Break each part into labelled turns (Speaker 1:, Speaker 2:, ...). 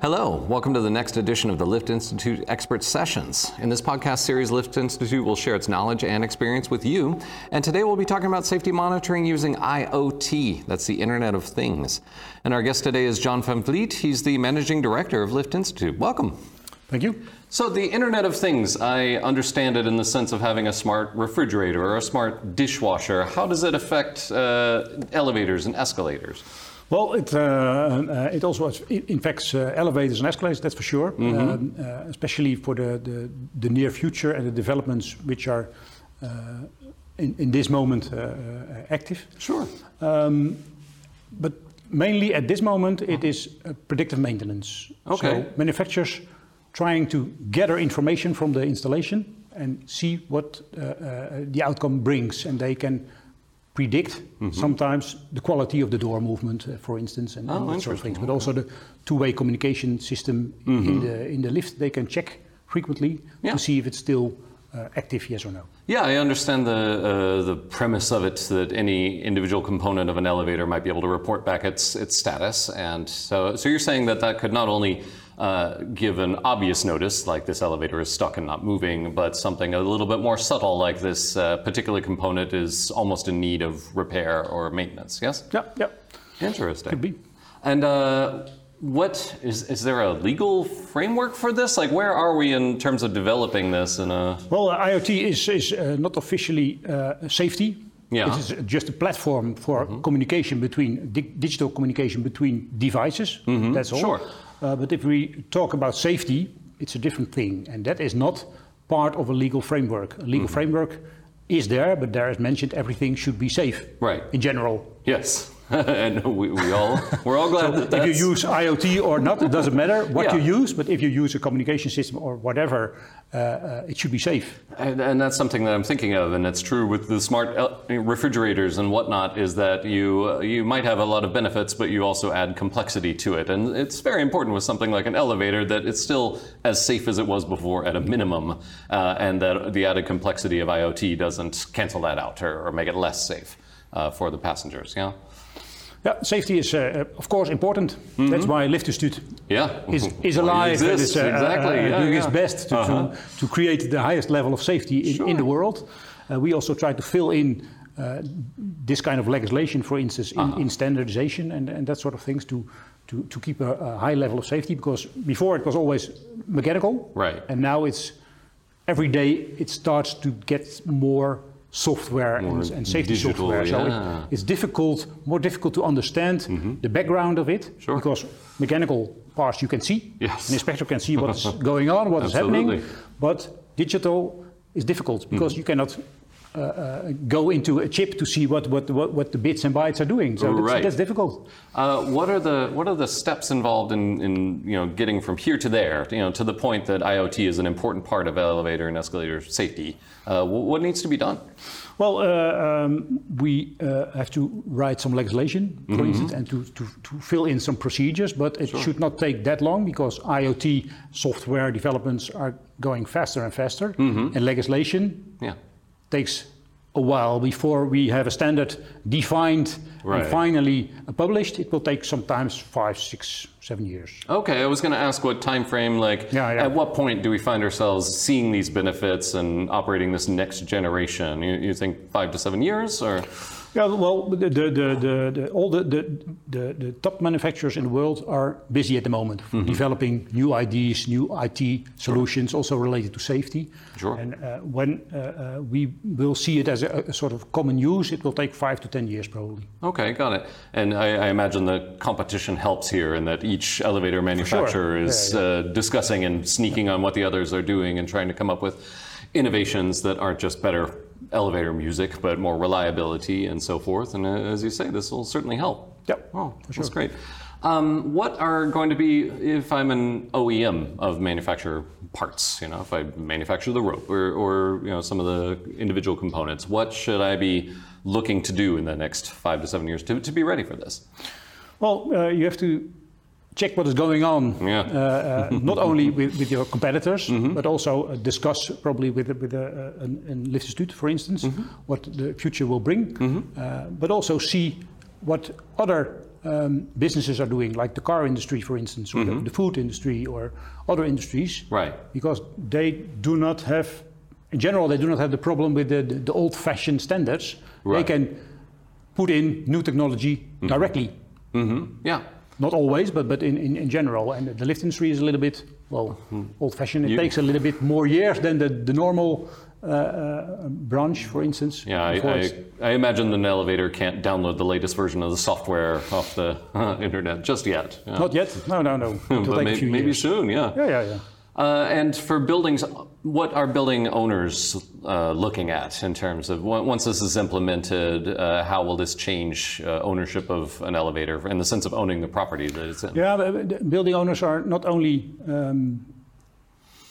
Speaker 1: Hello, welcome to the next edition of the Lyft Institute Expert Sessions. In this podcast series, Lyft Institute will share its knowledge and experience with you. And today we'll be talking about safety monitoring using IoT, that's the Internet of Things. And our guest today is John Van Vliet. He's the managing director of Lyft Institute. Welcome.
Speaker 2: Thank you.
Speaker 1: So, the Internet of Things, I understand it in the sense of having a smart refrigerator or a smart dishwasher. How does it affect uh, elevators and escalators?
Speaker 2: Well, it, uh, uh, it also infects uh, elevators and escalators, that's for sure, mm-hmm. um, especially for the, the, the, near future and the developments which are uh, in, in this moment uh, active.
Speaker 1: Sure.
Speaker 2: Um, but mainly at this moment, it is uh, predictive maintenance.
Speaker 1: Okay.
Speaker 2: So manufacturers trying to gather information from the installation and see what uh, the outcome brings, and they can predict mm-hmm. sometimes the quality of the door movement, uh, for instance, and, and
Speaker 1: Oh,
Speaker 2: that sort of
Speaker 1: interesting. Mm-hmm.
Speaker 2: things. But also the two-way communication system in the in the lift, they can check frequently
Speaker 1: Yeah.
Speaker 2: to see if it's still uh, active, yes or no.
Speaker 1: Yeah, I understand the uh, the premise of it that any individual component of an elevator might be able to report back its its status, and so so you're saying that that could not only uh, give an obvious notice like this elevator is stuck and not moving, but something a little bit more subtle like this uh, particular component is almost in need of repair or maintenance. Yes,
Speaker 2: Yeah, yeah,
Speaker 1: interesting.
Speaker 2: could be.
Speaker 1: And uh, what is is there a legal framework for this? Like, where are we in terms of developing this? In a
Speaker 2: Well, uh, IoT is is uh, not officially uh, safety.
Speaker 1: Yeah. Mm-hmm.
Speaker 2: It is just a platform for communication between di- digital communication between devices. That's
Speaker 1: Mm-hmm.
Speaker 2: all.
Speaker 1: sure.
Speaker 2: Uh, but if we talk about safety, it's a different thing, and that is not part of a legal framework. A legal
Speaker 1: Mm-hmm.
Speaker 2: framework is there, but there is mentioned everything should be safe.
Speaker 1: Right.
Speaker 2: In general,
Speaker 1: Yes, and we, we all we're all glad that that's,
Speaker 2: if you use IoT or not, it doesn't matter what
Speaker 1: Yeah.
Speaker 2: you use. But if you use a communication system or whatever, uh, uh, it should be safe.
Speaker 1: and, and that's something that I'm thinking of, and it's true with the smart el- refrigerators and whatnot. Is that you uh, you might have a lot of benefits, but you also add complexity to it, and it's very important with something like an elevator that it's still as safe as it was before at a minimum, uh, and that the added complexity of IoT doesn't cancel that out or, or make it less safe uh, for the passengers. Yeah,
Speaker 2: Yeah, safety is, uh, of course, important.
Speaker 1: Mm-hmm.
Speaker 2: That's why Liftinstituut
Speaker 1: yeah,
Speaker 2: is, is
Speaker 1: Well, it
Speaker 2: alive and
Speaker 1: exists,
Speaker 2: is uh,
Speaker 1: exactly
Speaker 2: uh,
Speaker 1: yeah,
Speaker 2: doing
Speaker 1: yeah.
Speaker 2: its best to, to-
Speaker 1: Uh-huh.
Speaker 2: to, create the highest level of safety in, in the
Speaker 1: Sure.
Speaker 2: world. Uh, we also try to fill in uh, this kind of legislation, for instance, in,
Speaker 1: Uh-huh.
Speaker 2: in standardization and, and that sort of things to, to, to keep a, a high level of safety because before it was always mechanical.
Speaker 1: Right.
Speaker 2: And now it's every day it starts to get more software and, and safety
Speaker 1: digital,
Speaker 2: software. So it-
Speaker 1: yeah.
Speaker 2: it's difficult, more difficult to understand the background of it
Speaker 1: Mm-hmm. Sure.
Speaker 2: because mechanical parts you can see.
Speaker 1: Yes.
Speaker 2: An inspector can see what's going on, what's happening.
Speaker 1: Absolutely. Mm-hmm.
Speaker 2: But digital is difficult because you cannot uh, uh, go into a chip to see what, what, what, what the bits and bytes are doing. So that's,
Speaker 1: Right.
Speaker 2: that's difficult.
Speaker 1: Uh, what are the what are the steps involved in, in you know getting from here to there you know to the point that IoT is an important part of elevator and escalator safety? Uh, wh- what needs to be done?
Speaker 2: Well, uh, um, we uh, have to write some legislation, for instance, and to, to, to fill in some procedures, but it should not take that long because IoT software developments are going faster and faster, and legislation
Speaker 1: Yeah,
Speaker 2: takes a while before we have a standard defined
Speaker 1: Right.
Speaker 2: and finally published. It will take sometimes five, six, seven years.
Speaker 1: okay. I was going to ask what time frame like
Speaker 2: Yeah, yeah.
Speaker 1: at what point do we find ourselves seeing these benefits and operating this next generation? You, you think five to seven years or
Speaker 2: Yeah, well, the, the, the, the, the, all the, the, the, the top manufacturers in the world are busy at the moment for developing new ideas, new IT solutions, also related to safety.
Speaker 1: Sure.
Speaker 2: And uh, when uh, uh, we will see it as a, a sort of common use, it will take five to ten years probably.
Speaker 1: Okay, got it. And I, I imagine the competition helps here in that each elevator manufacturer is
Speaker 2: Yeah,
Speaker 1: Uh, discussing and sneaking on what the others are doing and trying to come up with innovations that aren't just better elevator music, but more reliability and so forth. And uh, as you say, this will certainly help.
Speaker 2: Yep.
Speaker 1: Oh, that's great. Um, what are going to be if I'm an OEM of manufacturer parts? You know, if I manufacture the rope or, or you know some of the individual components, what should I be looking to do in the next five to seven years to, to be ready for this?
Speaker 2: Well, uh, you have to check what is going on,
Speaker 1: Yeah.
Speaker 2: uh, uh, not only with, with your competitors, but also uh, discuss probably with, a- with a, a, an, an Institute, for instance, what the future will bring, uh, but also see what other um, businesses are doing, like the car industry, for instance, or the, the food industry, or other industries,
Speaker 1: Right.
Speaker 2: because they do not have, in general, they do not have the problem with the, the old-fashioned standards.
Speaker 1: Right.
Speaker 2: They can put in new technology directly,
Speaker 1: Yeah.
Speaker 2: not always, but but in, in, in general. And the lift industry is a little bit well old-fashioned. It
Speaker 1: Mm-hmm. You-
Speaker 2: takes a little bit more years than the the normal. Uh, uh, branch, for instance.
Speaker 1: Yeah, I,
Speaker 2: before it's-
Speaker 1: I, I imagine an elevator can't download the latest version of the software off the internet just yet. Yeah.
Speaker 2: Not yet. No, no, no.
Speaker 1: but
Speaker 2: It'll take a
Speaker 1: may-
Speaker 2: few
Speaker 1: maybe
Speaker 2: years.
Speaker 1: soon, yeah.
Speaker 2: Yeah, yeah, yeah.
Speaker 1: Uh, and for buildings, what are building owners uh, looking at in terms of on- once this is implemented, uh, how will this change uh, ownership of an elevator in the sense of owning the property that it's in?
Speaker 2: Yeah, but the building owners are not only um,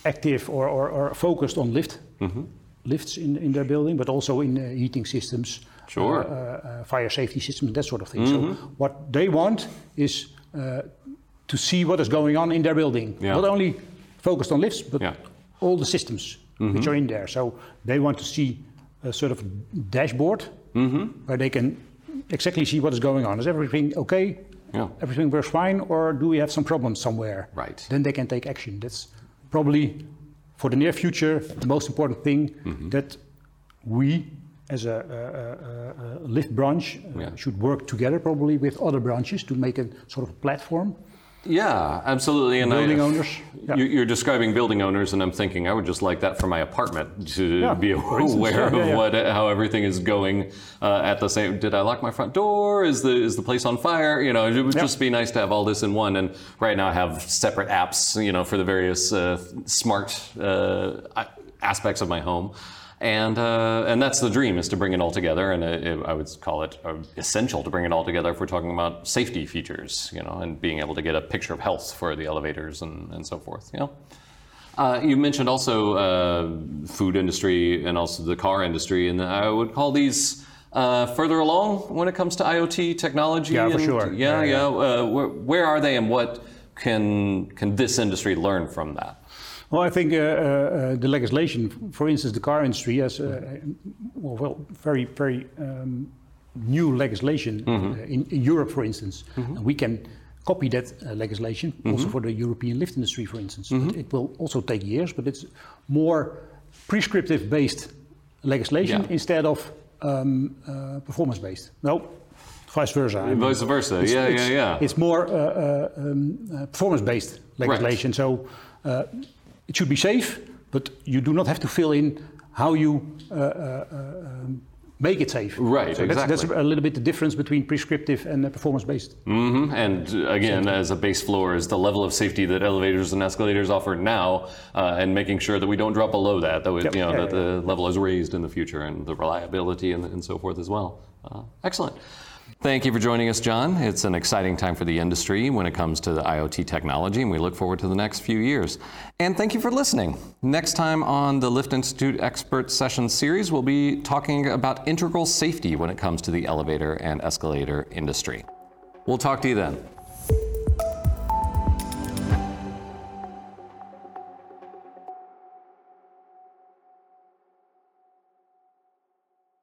Speaker 2: active or, or, or focused on lift
Speaker 1: Mm-hmm.
Speaker 2: lifts in, in their building, but also in uh, heating systems,
Speaker 1: Sure. Mm-hmm.
Speaker 2: uh, uh, fire safety systems, that sort of thing. So what they want is uh, to see what is going on in their building,
Speaker 1: Yeah.
Speaker 2: not only focused on lifts, but
Speaker 1: Yeah. Mm-hmm.
Speaker 2: all the systems which are in there. So they want to see a sort of dashboard
Speaker 1: Mm-hmm.
Speaker 2: where they can exactly see what is going on. Is everything okay?
Speaker 1: Yeah.
Speaker 2: everything works fine, or do we have some problems somewhere?
Speaker 1: Right.
Speaker 2: Then they can take action. That's probably for the near future the most important thing
Speaker 1: Mm-hmm.
Speaker 2: that we, as a, a- a- a- a lift branch, uh,
Speaker 1: Yeah.
Speaker 2: should work together probably with other branches to make a sort of platform.
Speaker 1: Yeah, absolutely. And
Speaker 2: Building
Speaker 1: I,
Speaker 2: owners, yeah.
Speaker 1: You, you're describing building owners, and I'm thinking I would just like that for my apartment to
Speaker 2: Yeah,
Speaker 1: be
Speaker 2: for
Speaker 1: aware
Speaker 2: instance, yeah,
Speaker 1: of
Speaker 2: yeah, yeah.
Speaker 1: what how everything is going uh, at the same. Did I lock my front door? Is the is the place on fire? You know, it would
Speaker 2: Yeah.
Speaker 1: just be nice to have all this in one. And right now I have separate apps, you know, for the various uh, smart uh, a- aspects of my home. And, uh, and that's the dream is to bring it all together and uh, it, I would call it uh, essential to bring it all together if we're talking about safety features you know and being able to get a picture of health for the elevators and, and so forth you know uh, you mentioned also uh, food industry and also the car industry, and I would call these uh, further along when it comes to IoT technology.
Speaker 2: Yeah, for
Speaker 1: and-
Speaker 2: sure.
Speaker 1: Yeah, yeah.
Speaker 2: Yeah,
Speaker 1: Uh, where, where are they, and what can can this industry learn from that?
Speaker 2: Well, I think uh, uh, uh, the legislation, for instance, the car industry has uh, well, well, very, very um, new legislation
Speaker 1: Mm-hmm.
Speaker 2: uh, in, in Europe, for instance. And we can copy that uh, legislation
Speaker 1: Mm-hmm.
Speaker 2: also for the European lift industry, for instance. But it will also take years, but it's more prescriptive based legislation
Speaker 1: Yeah.
Speaker 2: instead of um, uh, performance based. No, vice versa. I mean,
Speaker 1: Vice versa. yeah, yeah,
Speaker 2: it's,
Speaker 1: yeah.
Speaker 2: It's more uh, uh, um, uh, performance-based legislation, so uh, it should be safe, but you do not have to fill in how you uh, uh, uh, um, make it safe.
Speaker 1: Right,
Speaker 2: so That's, that's
Speaker 1: exactly.
Speaker 2: a little bit the difference between prescriptive and uh, performance-based.
Speaker 1: Mhm. And uh, again, as a base floor is the level of safety that elevators and escalators offer now, uh, and making sure that we don't drop below that, that, we,
Speaker 2: Yep.
Speaker 1: you know,
Speaker 2: Yeah,
Speaker 1: that the level is raised in the future and the reliability and, and so forth as well. Uh, excellent. Thank you for joining us, John. It's an exciting time for the industry when it comes to the IoT technology, and we look forward to the next few years. And thank you for listening. Next time on the Lyft Institute Expert Session Series, we'll be talking about integral safety when it comes to the elevator and escalator industry. We'll talk to you then.